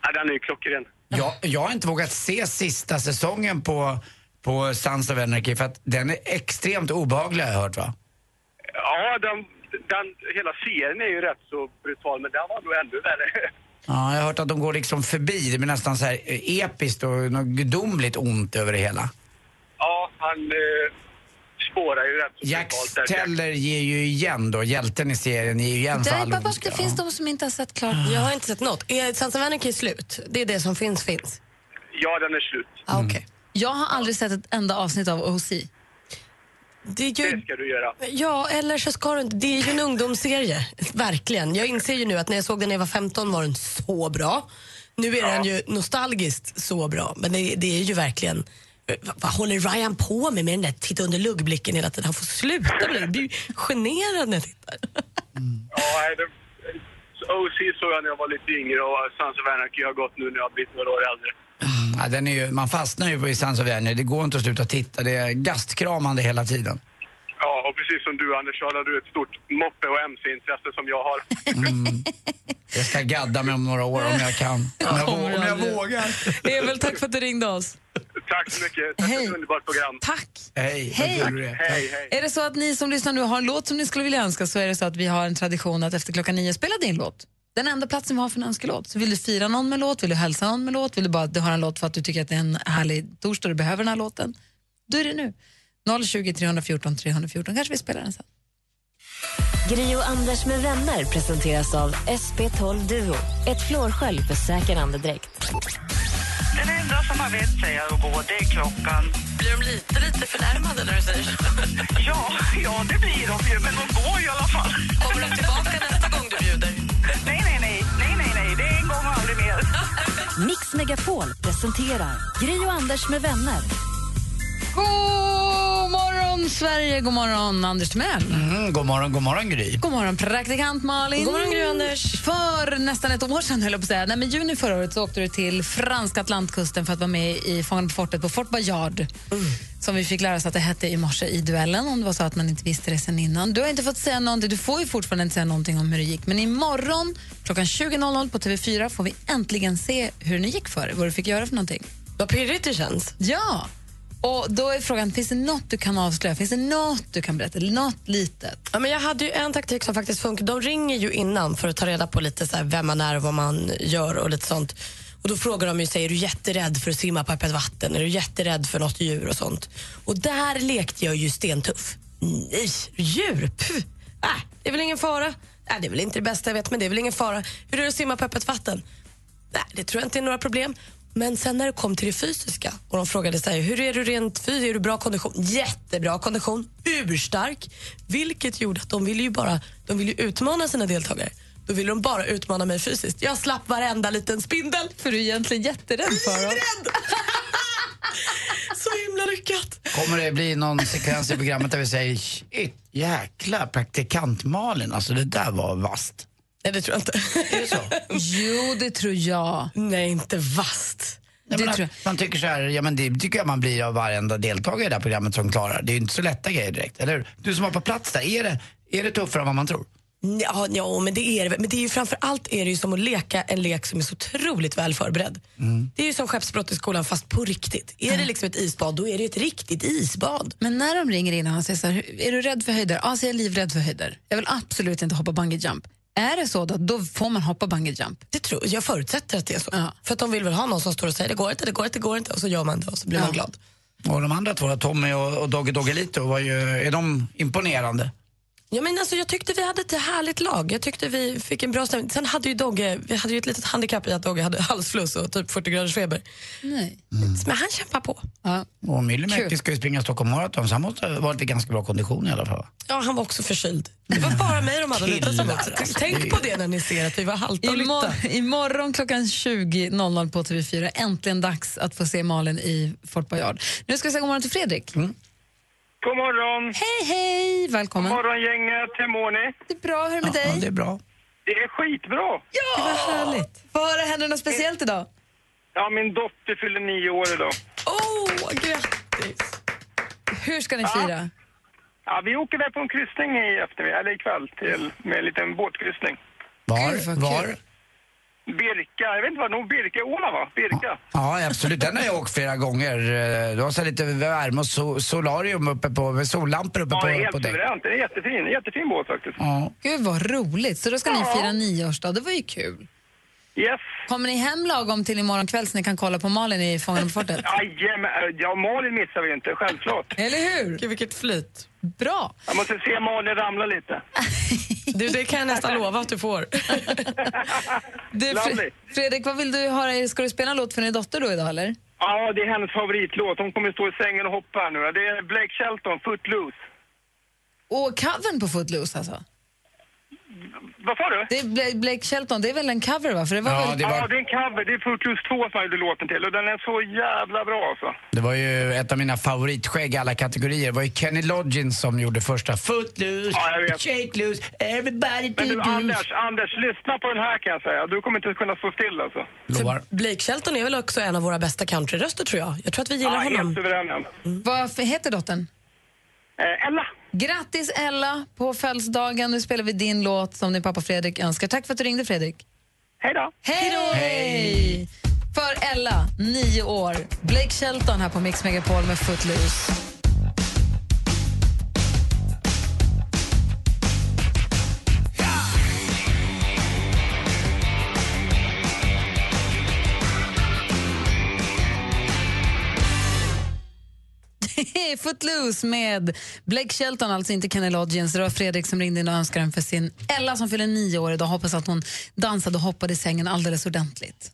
S17: Ja, den är ju klockren.
S1: Jag, jag har inte vågat se sista säsongen på, på Sons of Anarchy för att den är extremt obehaglig har jag hört va?
S17: Ja, den, den, hela serien är ju rätt så brutal, men den var nog ännu värre.
S1: Ja, jag har hört att de går liksom förbi, det blir nästan så här eh, episkt och något gudomligt ont över det hela.
S17: Ja, han eh, spårar ju rätt så
S1: Jack
S17: brutalt där.
S1: Teller ger ju igen då, hjälten i serien ger ju igen för all ondska.
S4: finns
S2: de som inte har sett klart.
S4: Jag har inte sett något. Eh, Är Sons of Anarchy slut? Det är det som finns finns.
S17: Ja, den är slut.
S4: Ah, okay.
S2: Jag har aldrig sett ett enda avsnitt av OC.
S4: Det, är ju,
S17: ska du göra.
S4: ja, eller så ska du inte. Det är ju en ungdomsserie. Verkligen. Jag inser ju nu att när jag såg den när jag var 15 var den så bra. Nu är den ju nostalgiskt så bra. Men det, det är ju verkligen... Vad, vad håller Ryan på med med den där titta under luggblicken hela tiden? Han får sluta med det. Det är ju generande. när jag tittar.
S17: Ja, nej, det, OC såg jag när jag var lite yngre och Sons of Anarchy har gått nu när jag har blivit några år äldre.
S1: Ja, den är ju, man fastnar ju på i Sons of Anarchy, det går inte att sluta titta, det är gastkramande hela tiden.
S17: Ja, och precis som du Anders så har du ett stort moppe och mc-intresse som jag har.
S1: Jag ska gadda mig om några år om jag kan. Om jag, vå- om jag vågar.
S2: Emil, tack för att du ringde oss.
S17: Tack så mycket. Tack för ett underbart program.
S2: Tack.
S1: Hej.
S2: Hej.
S1: vad kul det är.
S17: Hej, hej.
S2: Är det så att ni som lyssnar nu har en låt som ni skulle vilja önska så är det så att vi har en tradition att efter klockan nio spela din låt. Den enda platsen vi har för en önskelåt. Så vill du fira någon med låt, vill du hälsa någon med låt, vill du bara att du har en låt för att du tycker att det är en härlig torsdag och du behöver den här låten. Då är det nu. 020 314 314. Kanske vi spelar den sen.
S3: Gri och Anders med vänner presenteras av SP12 Duo. Ett flårskölj för säker andedräkt.
S6: Den enda som har vett säger jag att gå, det är klockan. Blir de lite, lite förnärmade när du säger så? ja, ja, det blir de ju, men de går ju i alla fall. Kommer de tillbaka nästa gång du bjuder? Nej, nej, nej, nej, nej, nej, det är en gång och aldrig mer.
S3: Mix Megapol presenterar Gri och Anders med vänner.
S2: God morgon, Sverige! God morgon, Anders Timell.
S1: Mm, god morgon, god morgon Gry.
S2: God morgon, praktikant Malin.
S4: God morgon, Gry Anders.
S2: För nästan ett år sedan, höll jag på att säga. Nej, men juni förra året så åkte du till franska Atlantkusten för att vara med i Fångarna på fortet på Fort Bayard. Som vi fick lära oss att det hette i morse i duellen, om det var så att man inte visste det sen innan. Du har inte fått säga någonting, du får ju fortfarande inte säga någonting om hur det gick. Men imorgon klockan 20.00 på TV4 får vi äntligen se hur ni gick för det, vad du fick göra för någonting.
S4: Vad pirrigt det känns.
S2: Ja! Och då är frågan, finns det något du kan avslöja? Finns det något du kan berätta? Eller Något litet?
S4: Ja, men jag hade ju en taktik som faktiskt funkar. De ringer ju innan för att ta reda på lite så här vem man är och vad man gör och lite sånt. Och då frågar de ju sig, är du jätterädd för att simma på öppet vatten? Är du jätterädd för något djur och sånt? Och där lekte jag ju stentuff. Nej, djur? Puh. Äh, det är väl ingen fara. Äh, det är väl inte det bästa jag vet, men det är väl ingen fara. Hur är det att simma på öppet vatten? Nej, det tror jag inte är några problem. Men sen när det kom till det fysiska och de frågade sig, hur är du rent fysiskt? Är du bra kondition? Jättebra kondition, urstark. Vilket gjorde att de ville ju bara de ville ju utmana sina deltagare. Då ville de bara utmana mig fysiskt. Jag slapp varenda liten spindel.
S2: För du är egentligen jätterädd för dem.
S4: Så himla lyckat.
S1: Kommer det bli någon sekvens i programmet där vi säger shit, jäkla praktikant Malin, alltså det där var vasst.
S4: Nej, det tror jag inte.
S1: Är det så?
S2: Jo, det tror jag.
S4: Nej, inte vasst.
S1: Nej, men att Man tycker så här, ja men det tycker jag man blir av varenda deltagare i det här programmet som klarar. Det är ju inte så lätta grejer direkt, eller hur? Du som var på plats där, är det, är det tuffare än vad man tror?
S4: Ja, ja, men det är det väl. Men det är ju framför allt är det ju som att leka en lek som är så otroligt väl förberedd. Det är ju som skeppsbrott i skolan fast på riktigt. Är det liksom ett isbad, då är det ju ett riktigt isbad.
S2: Men när de ringer in och han säger så här, "Hur- är du rädd för höjder? Ja, så är jag livrädd för höjder. Jag vill absolut inte hoppa bungee jump. Är det så då, då får man hoppa bungee jump?
S4: Det tror, jag förutsätter att det är så. För att de vill väl ha någon som står och säger det går inte, det går inte, det går inte och så gör man det och så blir man glad.
S1: Och de andra två, Tommy och, och Dogge Doggelito, var ju, är de imponerande?
S4: Ja, men alltså, jag tyckte vi hade ett härligt lag. Jag tyckte vi fick en bra stämning. Sen hade ju Dogge, vi hade ju ett litet handikapp i att Dogge hade halsfluss och typ 40 graders feber.
S2: Nej.
S4: Men han kämpar på.
S2: Ja.
S1: Och
S4: Kul.
S1: Myllymäki ska ju springa Stockholm Marathon så han måste ha varit i ganska bra kondition i alla fall.
S4: Ja, han var också förkyld. Det var bara mig de hade lutat sig
S1: Killar,
S4: mot.
S1: alltså,
S4: Tänk
S1: det-
S4: på det när ni ser att vi var halta och lytta.
S2: Imor- imorgon klockan 20.00 på TV4. Äntligen dags att få se Malin i Fort Boyard. Nu ska vi säga god morgon till Fredrik.
S6: God morgon!
S2: Hej, hej! Välkommen.
S6: God morgon gänget, hur mår ni?
S2: Det är bra, hur är det med dig?
S1: det är bra.
S6: Det är skitbra!
S2: Ja! Vad härligt. Vad har det- händer det något speciellt idag?
S6: Ja, min dotter fyller nio år idag.
S4: Åh, grattis!
S2: Hur ska ni fira?
S6: Ja, vi åker väl på en kryssning i eftermiddag, eller ikväll, till, med en liten båtkryssning.
S1: Var? Var?
S6: Birka, jag vet inte vad, nog Birka, Åland va? Birka.
S1: Ja, absolut. Den har jag åkt flera gånger. Eh, Du har så här lite värme och so- solarium uppe på, med sollampor uppe
S6: Ja, det är
S1: på, på
S6: helt
S1: däck.
S6: suveränt. Det är en jättefin, jättefin båt faktiskt.
S1: Ja.
S2: Gud, vad roligt. Så då ska ni fira nioårsdag. Det var ju kul.
S6: Yes.
S2: Kommer ni hem lagom till imorgon kväll så ni kan kolla på Malin i Fångarna på fortet?
S6: Jajamän, äh, ja Malin missar vi inte, självklart.
S2: Eller hur?
S4: Gud, vilket flyt.
S2: Bra.
S6: Jag måste se Malin ramla lite.
S4: Du, det kan jag nästan lova att du får.
S2: Du,
S6: Lovely.
S2: Fre- Fredrik, vad vill du höra? Ska du spela en låt för din dotter då idag eller?
S6: Ja, det är hennes favoritlåt. Hon kommer stå i sängen och hoppa här nu. Det är Blake Shelton, Footloose.
S2: Och covern på Footloose alltså?
S6: Vad sa du?
S2: Det är Bla- Blake Shelton, det är väl en cover va? För det var
S1: Ja,
S2: väl...
S1: det var-
S6: Ja, det är en cover. Det är Footloose 2 som jag gjorde låten till och den är så jävla bra alltså.
S1: Det var ju ett av mina favoritskägg i alla kategorier. Det var ju Kenny Loggins som gjorde första Footloose,
S6: Ja, jag vet.
S1: Shake Loose, Everybody
S6: Men
S1: do
S6: du
S1: Loose.
S6: Anders, Anders, lyssna på den här kan jag säga. Du kommer inte kunna stå still alltså.
S1: Lovar.
S4: Blake Shelton är väl också en av våra bästa countryröster tror jag. Jag tror att vi gillar
S6: Ja, helt
S4: honom.
S6: suverän. han.
S2: Vad f- heter dottern?
S6: Eh, Ella.
S2: Grattis Ella på födelsedagen. Nu spelar vi din låt som din pappa Fredrik önskar. Tack för att du ringde Fredrik.
S6: Hej då.
S2: Hej då! Hej! För Ella, nio år. Blake Shelton här på Mix Megapol med Footloose. Footloose med Blake Shelton, alltså inte Kenny Loggins. Det var Fredrik som ringde in och önskade den för sin Ella som fyller nio år idag. Hoppas att hon dansade och hoppade i sängen alldeles ordentligt.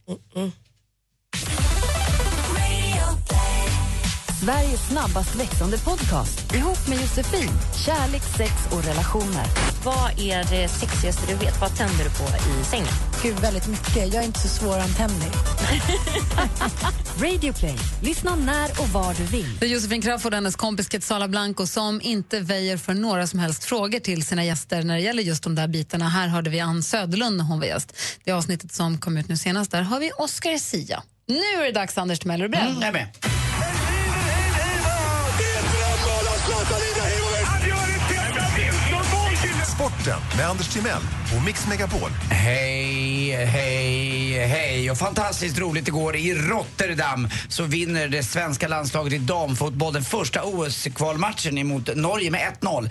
S3: Sveriges snabbast växande podcast ihop med Josefin. Kärlek, sex och relationer. Vad är det sexigaste du vet? Vad tänder du på i sängen?
S18: Gud, väldigt mycket. Jag är inte så svårantändlig.
S3: Radio Play. Lyssna när och var du vill.
S2: Det är Josefin Crafoord och hennes kompis Quetzala Blanco som inte väjer för några som helst frågor till sina gäster när det gäller just de där bitarna. Här hörde vi Ann Söderlund när hon var gäst. Det avsnittet som kom ut nu senast, där har vi Oscar Sia. Nu är det dags, Anders Timell. Är du beredd?
S1: Mm, jag är med.
S19: Sporten med Anders Timell och Mix Megapol.
S1: Hej, hej, hej. Och fantastiskt roligt igår i Rotterdam så vinner det svenska landslaget i damfotboll den första OS-kvalmatchen emot Norge med 1-0.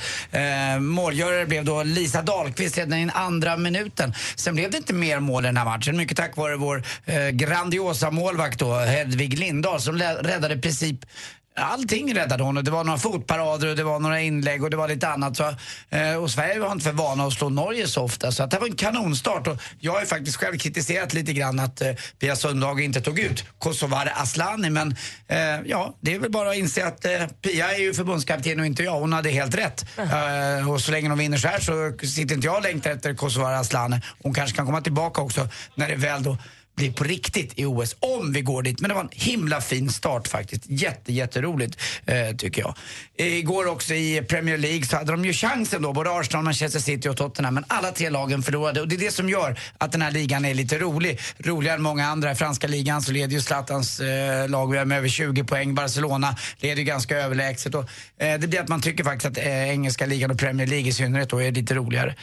S1: Eh, målgörare blev då Lisa Dahlqvist redan i den andra minuten. Sen blev det inte mer mål i den här matchen, mycket tack vare vår eh, grandiosa målvakt då, Hedvig Lindahl, som lä- räddade i princip Allting räddade hon och det var några fotparader och det var några inlägg och det var lite annat. Så, eh, och Sverige var inte för vana att slå Norge så ofta så att det var en kanonstart. Och jag har ju faktiskt själv kritiserat lite grann att eh, Pia Sundhage inte tog ut Kosovare Aslani men eh, ja, det är väl bara att inse att eh, Pia är ju förbundskapten och inte jag. Hon hade helt rätt. Eh, och så länge de vinner så här så sitter inte jag och längtar efter Kosovare Aslani. Hon kanske kan komma tillbaka också när det väl då blir på riktigt i OS, om vi går dit. Men det var en himla fin start faktiskt. Jätte, jätteroligt eh, tycker jag. Igår också i Premier League så hade de ju chansen då, både Arsenal, Manchester City och Tottenham, men alla tre lagen förlorade och det är det som gör att den här ligan är lite rolig. Roligare än många andra. I franska ligan så leder ju Zlatans eh, lag med över 20 poäng. Barcelona leder ju ganska överlägset. Och, eh, det blir att man tycker faktiskt att eh, engelska ligan och Premier League i synnerhet då är lite roligare.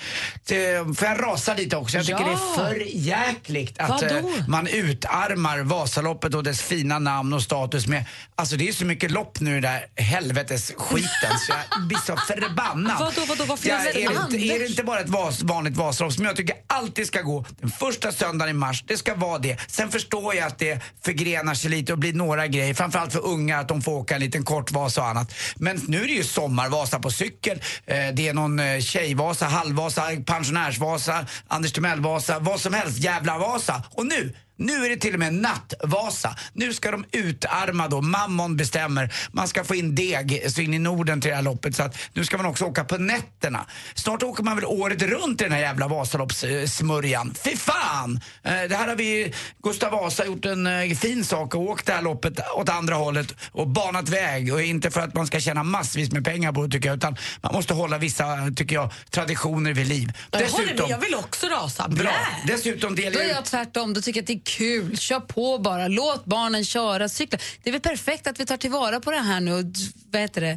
S1: Det, får jag rasa lite också? Jag tycker
S20: Ja.
S1: det är för jäkligt att
S20: Vadå?
S1: eh, man utarmar Vasaloppet och dess fina namn och status med... Alltså det är så mycket lopp nu i den där helvetes skiten så jag blir så förbannad.
S2: Vadå, vadå, vad finns
S1: Ja,
S2: det?
S1: är, det inte, är det
S2: Anders?
S1: inte bara ett vas, vanligt Vasalopp som jag tycker alltid ska gå den första söndagen i mars? Det ska vara det. Sen förstår jag att det förgrenar sig lite och blir några grejer, framförallt för unga att de får åka en liten kortvasa och annat. Men nu är det ju sommarvasa på cykel, eh, det är någon eh, tjejvasa, halvvasa, pensionärsvasa, Anders Timell-vasa, vad som helst, jävla vasa. Och nu nu är det till och med nattvasa. Nu ska de utarma då. Mammon bestämmer. Man ska få in deg så in i Norden till det här loppet. Så att nu ska man också åka på nätterna. Snart åker man väl året runt i den här jävla Vasaloppssmörjan. Fy fan! Eh, Det här har vi, Gustav Vasa, gjort en eh, fin sak och åkt det här loppet åt andra hållet och banat väg. Och inte för att man ska tjäna massvis med pengar på det tycker jag, utan man måste hålla vissa, tycker jag, traditioner vid liv.
S4: Jag, håller med, jag vill också rasa.
S1: Bra.
S4: Blä!
S1: Dessutom delar
S2: Då är
S1: ut-
S2: jag tvärtom. Då tycker jag att det är kul. Kör på bara. Låt barnen köra, cykla. Det är väl perfekt att vi tar tillvara på det här nu och vad heter det,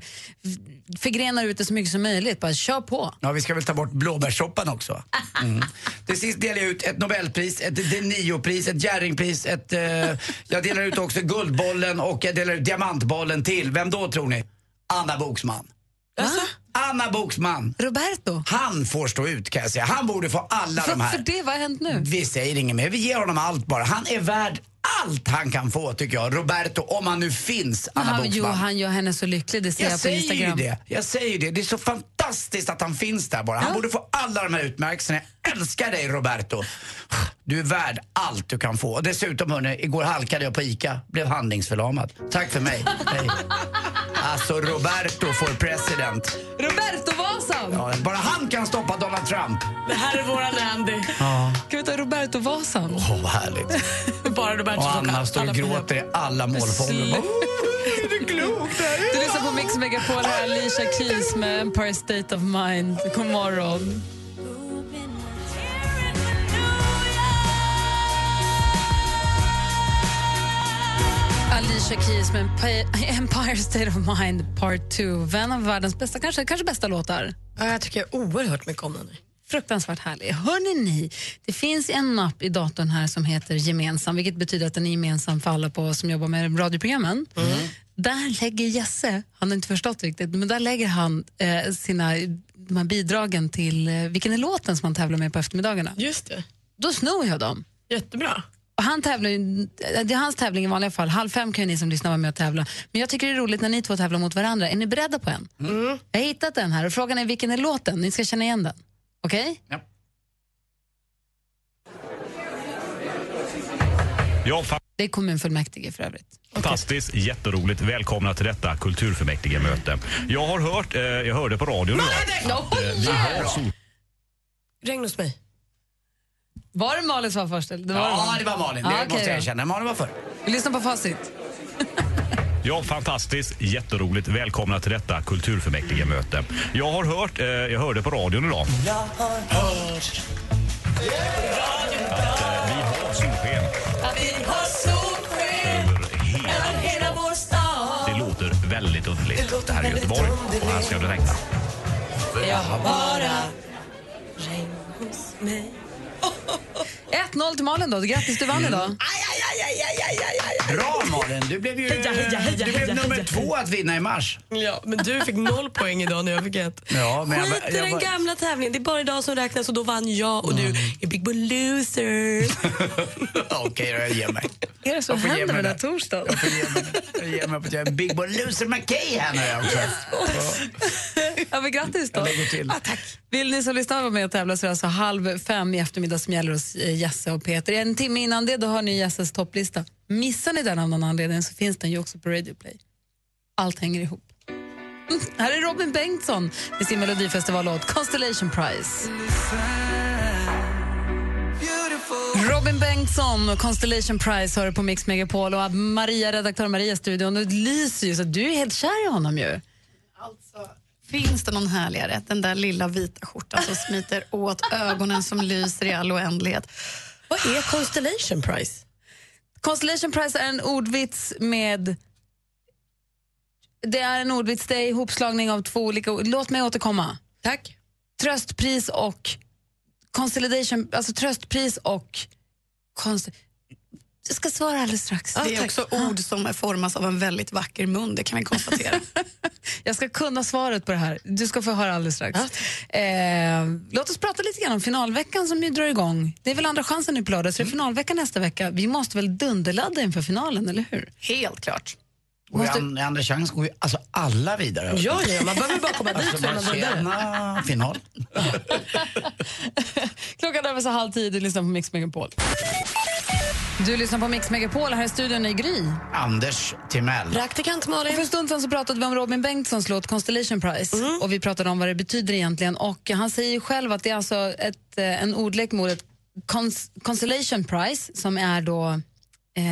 S2: f- förgrenar ut det så mycket som möjligt. Bara kör på.
S1: Ja, vi ska väl ta bort blåbärssoppan också. Mm. Till sist delar jag ut ett Nobelpris, ett Denio-pris, ett Jerringpris, ett... Eh, jag delar ut också Guldbollen och jag delar ut Diamantbollen till. Vem då tror ni? Anna Boksman. Anna Boksman.
S2: Roberto.
S1: Han får stå ut kan jag säga. Han borde få alla de
S2: För,
S1: här.
S2: för det, vad har hänt nu?
S1: Vi säger inget mer. Vi ger honom allt bara. Han är värd allt han kan få tycker jag. Roberto, om han nu finns, Anna
S2: Han,
S1: Boksman.
S2: jo, han gör henne så lycklig. Det ser jag,
S1: Jag
S2: på
S1: säger ju
S2: Instagram.
S1: det. Jag säger ju det. Det är så fantastiskt att han finns där bara. Han borde få alla de här utmärkelserna. Jag älskar dig Roberto. Du är värd allt du kan få. Och dessutom hörni, igår halkade jag på ICA. Blev handlingsförlamad. Tack för mig. Hej. Alltså Roberto får president.
S2: Roberto Vasa!
S1: Ja, bara han kan stoppa Donald Trump.
S4: Det här är våran Andy.
S1: Ja.
S2: Ska vi ta Roberto Vasa?
S1: Åh, vad härligt.
S4: Bara Roberto
S1: Och Anna
S4: Alla
S1: står och
S4: på jobb.
S1: gråter i alla målfångor.
S2: Slut. Du lyssnar på Mix Megapol här, Alicia Keys med Empire State of Mind. God morgon. Alicia Keys med Empi- Empire State of Mind Part 2. Vän av världens bästa, kanske, kanske bästa låtar.
S4: Ja, jag tycker oerhört mycket om den. nu.
S2: Fruktansvärt härlig. Hörrni ni, det finns en mapp i datorn här som heter gemensam, vilket betyder att den är gemensam för alla på, som jobbar med radioprogrammen. Där lägger Jesse, han har inte förstått riktigt, men där lägger han eh, sina de här bidragen till eh, vilken är låten som han tävlar med på eftermiddagarna.
S4: Just det.
S2: Då snor jag dem.
S4: Jättebra.
S2: Och han tävlar, ju- eh, det är hans tävling i vanliga fall. Halv fem kan ju ni som lyssnar vara med och tävla. Men jag tycker det är roligt när ni två tävlar mot varandra. Är ni beredda på en? Jag har hittat den här och frågan är vilken är låten? Ni ska känna igen den. Okej?
S8: Ja, fa-
S2: Det är kommunfullmäktige för övrigt.
S8: fantastiskt. Jätteroligt. Välkomna till detta kulturfullmäktige möte. Jag har hört, eh, jag hörde på radion idag. att, eh, vi har sol-
S4: Regn hos mig.
S2: Var det Malin som var först? eller? Det var
S1: Ja, det var Malin. Det
S2: Ja, okej
S1: måste jag
S2: då.
S1: erkänna. Malin var förr.
S2: Vi lyssnar på facit.
S8: Ja, fantastiskt. Jätteroligt. Välkomna till detta kulturfullmäktige möte. Jag har hört, eh, jag hörde på radion idag.
S6: Jag har hört
S8: eh, Solsken
S6: att vi har solsken över hela vår stad.
S8: Det låter väldigt underligt. Det, här är Göteborg och här ska det regna.
S6: Jag har bara
S2: 1-0 till Malin då. Grattis, du vann
S1: Mm.
S2: idag.
S1: Bra Malin, du blev ju
S4: Heja, heja, heja,
S1: du blev
S4: heja,
S1: nummer
S4: heja.
S1: två att vinna i mars.
S4: Ja, men du fick noll poäng idag när jag fick ett.
S1: Ja, men jag,
S4: Skit
S1: var-
S4: i
S1: jag,
S4: den
S1: var- Mm.
S4: gamla tävlingen, det är bara idag som räknas och då vann jag och du är big boy loser.
S1: Okej, då, jag ger mig.
S2: Är det som
S1: Jag får ge
S2: händer
S1: mig
S2: den här
S1: det.
S2: torsdagen?
S1: Jag får ge mig, jag ger mig på att jag är en big boy loser McKay här nu är jag också.
S2: Ja, men grattis då.
S1: Jag lägger till.
S2: Vill ni som lyssnar vara med och tävla så är det alltså halv fem i eftermiddag som gäller hos eh, Jesse och Peter. En timme innan det då har ni Jesses topplista. Missar ni den av någon anledning så finns den ju också på Radio Play. Allt hänger ihop. Mm, Här är Robin Bengtsson med sin melodifestivallåt Constellation Prize. Robin Bengtsson Bengtsson och Constellation Prize hör du på Mix Megapol och Maria, redaktör Maria i studion. Det lyser ju så du är helt kär i honom ju.
S20: Alltså, Finns det någon härligare? Den där lilla vita skjortan som smiter åt ögonen som lyser i all oändlighet.
S4: Vad är Constellation Prize?
S2: Constellation Prize är en ordvits med... Det är en ordvits, det är ihopslagning av två olika ord. Låt mig återkomma.
S4: Tack.
S2: Tröstpris och... Consolidation, alltså tröstpris och... Konst... Jag ska svara alldeles strax.
S20: Det är också ord som formas av en väldigt vacker mun, det kan vi konstatera.
S2: Jag ska kunna svaret på det här. Du ska få höra alldeles strax. Eh, låt oss prata lite grann om finalveckan som ju drar igång. Det är väl andra chansen nu på lördag, så det är finalvecka nästa vecka. Vi måste väl dunderladda inför finalen, eller hur?
S20: Helt klart.
S1: Och i an- i andra chans går ju alltså alla vidare.
S2: Ja, ja, man behöver bara komma dit
S1: alltså,
S2: så är man vidare.
S1: Barcelona, final.
S2: Klockan är så halv tio, du lyssnar på Mix Megapol. Du lyssnar på Mix Megapol, här i studion i Gry.
S1: Anders Timell.
S2: Praktikant Malin. Och för en stund sedan så pratade vi om Robin Bengtssons låt Constellation Prize och vi pratade om vad det betyder egentligen och han säger ju själv att det är alltså ett, eh, en ordlek med ordet cons- Constellation Prize som är då eh,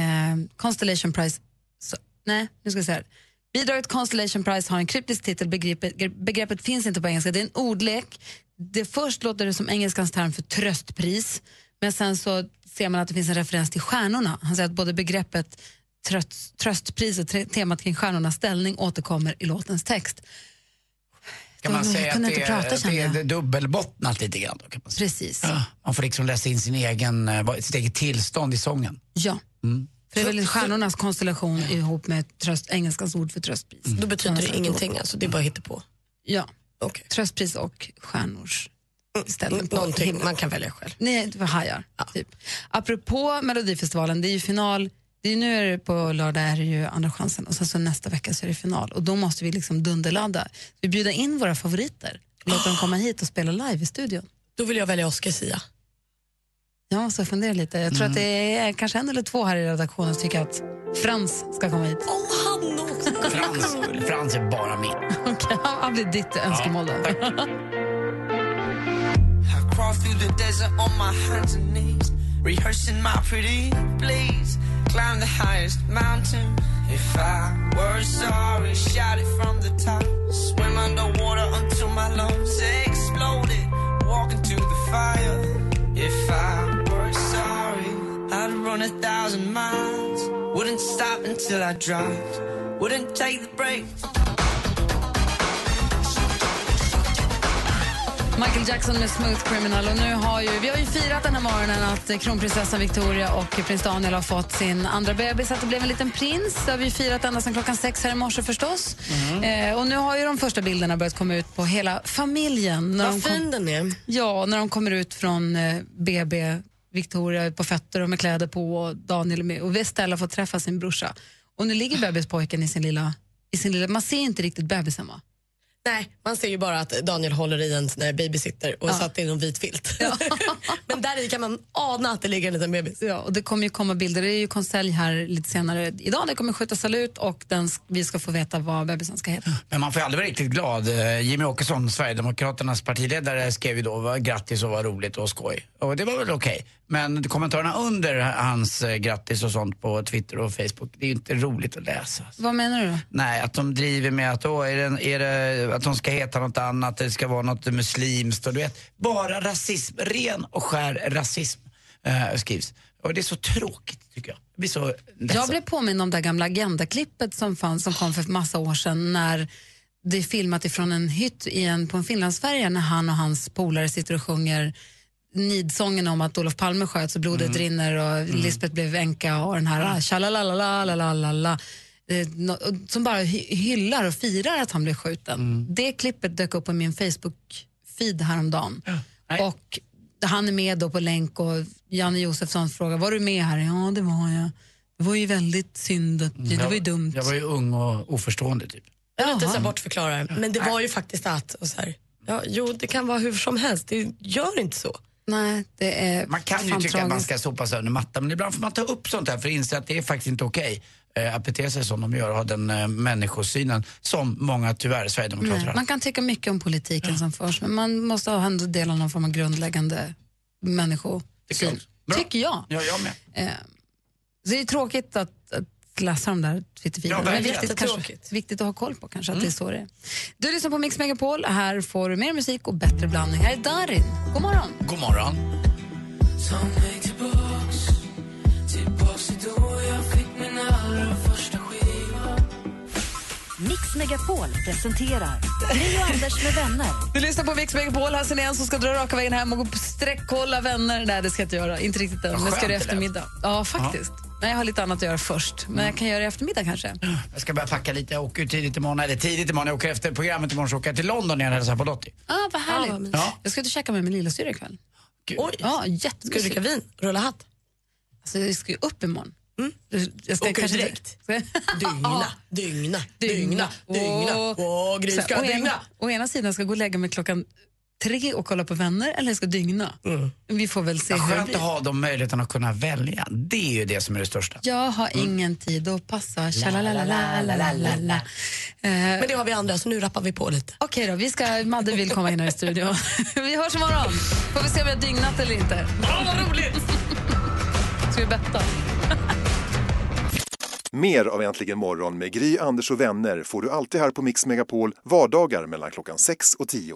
S2: Constellation Prize, så, nej nu ska jag säga det. Bidraget Constellation Prize har en kryptisk titel, begreppet, begreppet finns inte på engelska, det är en ordlek. Det först låter det som engelskans term för tröstpris men sen så ser man att det finns en referens till stjärnorna. Han säger att både begreppet tröst, tröstpris och tre- temat kring stjärnornas ställning återkommer i låtens text.
S1: Kan man
S2: Jag
S1: säga att
S2: kunde
S1: det,
S2: inte prata,
S1: är-
S2: kände
S1: det, är
S2: jag.
S1: det dubbelbottnat lite grann? Då, kan man, säga.
S2: Precis.
S1: Ja, man får liksom läsa in sin egen, eh, vad- sitt eget tillstånd i sången.
S2: Ja.
S1: Mm.
S2: För det är väl stjärnornas konstellation ihop med tröst, engelskans ord för tröstpris.
S1: Mm.
S4: Då betyder det ingenting, alltså, det är bara på.
S2: Ja, tröstpris och stjärnors
S1: Mm.
S2: ställning på
S4: Någonting
S2: himlen.
S4: man kan välja själv.
S2: Nej, det var hajar. Typ. Apropå Melodifestivalen, det är ju final. Det är ju nu är det på lördag är det ju Andra chansen och sen så nästa vecka så är det final. Och då måste vi liksom dunderladda. Vi bjuder in våra favoriter och låter dem komma hit och spela live i studion.
S4: Då vill jag välja Oscar Sia.
S2: Jag måste fundera lite. Jag tror
S4: Mm.
S2: att det är kanske en eller två här i redaktionen som tycker att Frans ska komma hit.
S1: Frans, Frans är bara min.
S2: Okej, han blir ditt önskemål då.
S6: I crawl through the desert on my hands and knees, rehearsing my pretty please. Climb the highest mountain. If I were sorry, shout it from the top. Swim underwater until my lungs exploded. Walk into the fire. If I were sorry, I'd run a thousand miles. Wouldn't stop until I dropped. Wouldn't take the break.
S2: Michael Jackson med Smooth Criminal. Och nu har ju, vi har ju firat den här morgonen att eh, kronprinsessan Victoria och prins Daniel har fått sin andra bebis, att det blev en liten prins. Det har vi firat ända sedan klockan sex här i morse förstås.
S4: Mhm.
S2: Eh, och nu har ju de första bilderna börjat komma ut på hela familjen. När
S4: Vad
S2: de kom-
S4: fin den är.
S2: Ja, när de kommer ut från eh, BB, Victoria är på fötter och med kläder på och Daniel är med och Estella får träffa sin brorsa. Och nu ligger bebispojken i sin lilla, i sin lilla man ser inte riktigt bebisen va?
S4: Nej, man ser ju bara att Daniel håller i en sån här babysitter och satt i någon vit filt. Men där i kan man ana att det ligger en liten bebis.
S2: Ja, och det kommer ju komma bilder. Det är ju konselj här lite senare idag. Det kommer skjutas salut och den, sk- vi ska få veta vad bebisen ska heta.
S1: Men man får ju aldrig vara riktigt glad. Eh, Jimmy Åkesson, Sverigedemokraternas partiledare, skrev ju då "Vad grattis och vad roligt och skoj. Och det var väl okej. Men kommentarerna under hans eh, grattis och sånt på Twitter och Facebook, det är ju inte roligt att läsa.
S2: Vad menar du då?
S1: Nej, att de driver med att, åh, är det, är det, att de ska heta något annat, det ska vara något muslimskt och du vet. Bara rasism, ren och skär rasism eh, skrivs. Och det är så tråkigt tycker jag. Jag blir så
S2: Jag
S1: ledsen.
S2: blev påmind om det här gamla Agenda-klippet som, fanns, som kom för massa år sedan när det är filmat ifrån en hytt i en, på en Finlandsfärja när han och hans polare sitter och sjunger nidsången om att Olof Palme sköts och blodet rinner och Lisbeth blev änka och den här ah, tjalalalalalalalala eh, nå- och som bara hy- hyllar och firar att han blev skjuten. Det klippet dök upp på min Facebook-feed häromdagen. Och han är med då på länk och Janne Josefsson frågar, var du med här? Ja, det var jag. Det var ju väldigt synd, att, det var ju dumt.
S1: Mm. Jag var ju ung och oförstående typ.
S4: Jag vill
S2: Jaha.
S4: inte så bortförklara, men det var ju faktiskt att... Och så här, ja, jo, det kan vara hur som helst. Det gör inte så.
S2: Nej, det är
S1: Man kan ju
S2: fan
S1: tycka att man
S2: tragiskt.
S1: ska sopas under mattan, men ibland får man ta upp sånt här för att inse att det är faktiskt inte okej eh, att bete sig som de gör och ha den eh, människosynen som många, tyvärr, sverigedemokrater
S2: Nej,
S1: har.
S2: man kan tycka mycket om politiken som förs, men man måste ha ändå del av någon form av grundläggande människosyn. tycker jag.
S1: Ja, jag med.
S2: Eh, så det är tråkigt att, att läsa de där Twitterfilerna.
S1: Ja,
S2: men
S1: verkligen.
S2: viktigt, kanske,
S1: Jättetråkigt.
S2: viktigt att ha koll på kanske, att
S1: Mm.
S2: det är så det är. Du lyssnar på Mix Megapol. Här får du mer musik och bättre blandning. Här är Darin. God morgon.
S1: God morgon.
S3: Mix Megapol presenterar Gri och Anders med vänner.
S2: Du lyssnar på Mix Megapol. Här ser ni en som ska dra raka vägen hem och gå på sträckkolla vänner. Nej, det ska jag inte göra. Inte riktigt än. Det
S1: Skönt
S2: ska du i
S1: det lät.
S2: eftermiddag. Ja, faktiskt. Men jag har lite annat att göra först. Men jag kan göra det i eftermiddag kanske.
S1: Jag ska börja packa lite. Jag åker ju tidigt imorgon, eller tidigt imorgon. Jag åker efter programmet imorgon så åker jag till London igen och hälsar på Lottie.
S2: Ah, vad härligt.
S1: mysigt. Ja.
S2: Jag ska ut och käka med min lillasyrra ikväll.
S1: Oj.
S2: Ja, jättemysigt.
S4: Ska du dricka vin?
S2: Rulla hatt? Alltså, jag ska ju upp imorgon. Mm. Jag ska
S4: Åker du
S2: kanske
S4: direkt?
S2: Ja.
S4: Dygna, dygna, dygna, dygna.
S2: Åh.
S4: Åh, Gry
S2: Så
S4: ska
S2: här, å,
S4: dygna.
S2: ena, å ena sidan ska jag gå och lägga mig klockan tre och kolla på vänner eller jag ska dygna.
S4: Mm.
S2: Vi får väl se
S1: Ja,
S2: hur det
S1: skönt
S2: blir.
S1: att ha de möjligheterna att kunna välja. Det är ju det som är det största.
S2: Jag har ingen tid att passa. Tjalalalalalalalala.
S4: Lalalala.
S2: Eh,
S4: Men det har vi andra, så nu rappar vi på lite.
S2: Okej då, vi ska, Madde vill komma in här i studion. vi hörs imorgon. Får vi se om jag har dygnat eller inte. Åh, vad roligt! ska vi betta?
S21: Mer av Äntligen morgon med Gry, Anders och vänner får du alltid här på Mix Megapol vardagar mellan klockan 6 och 10.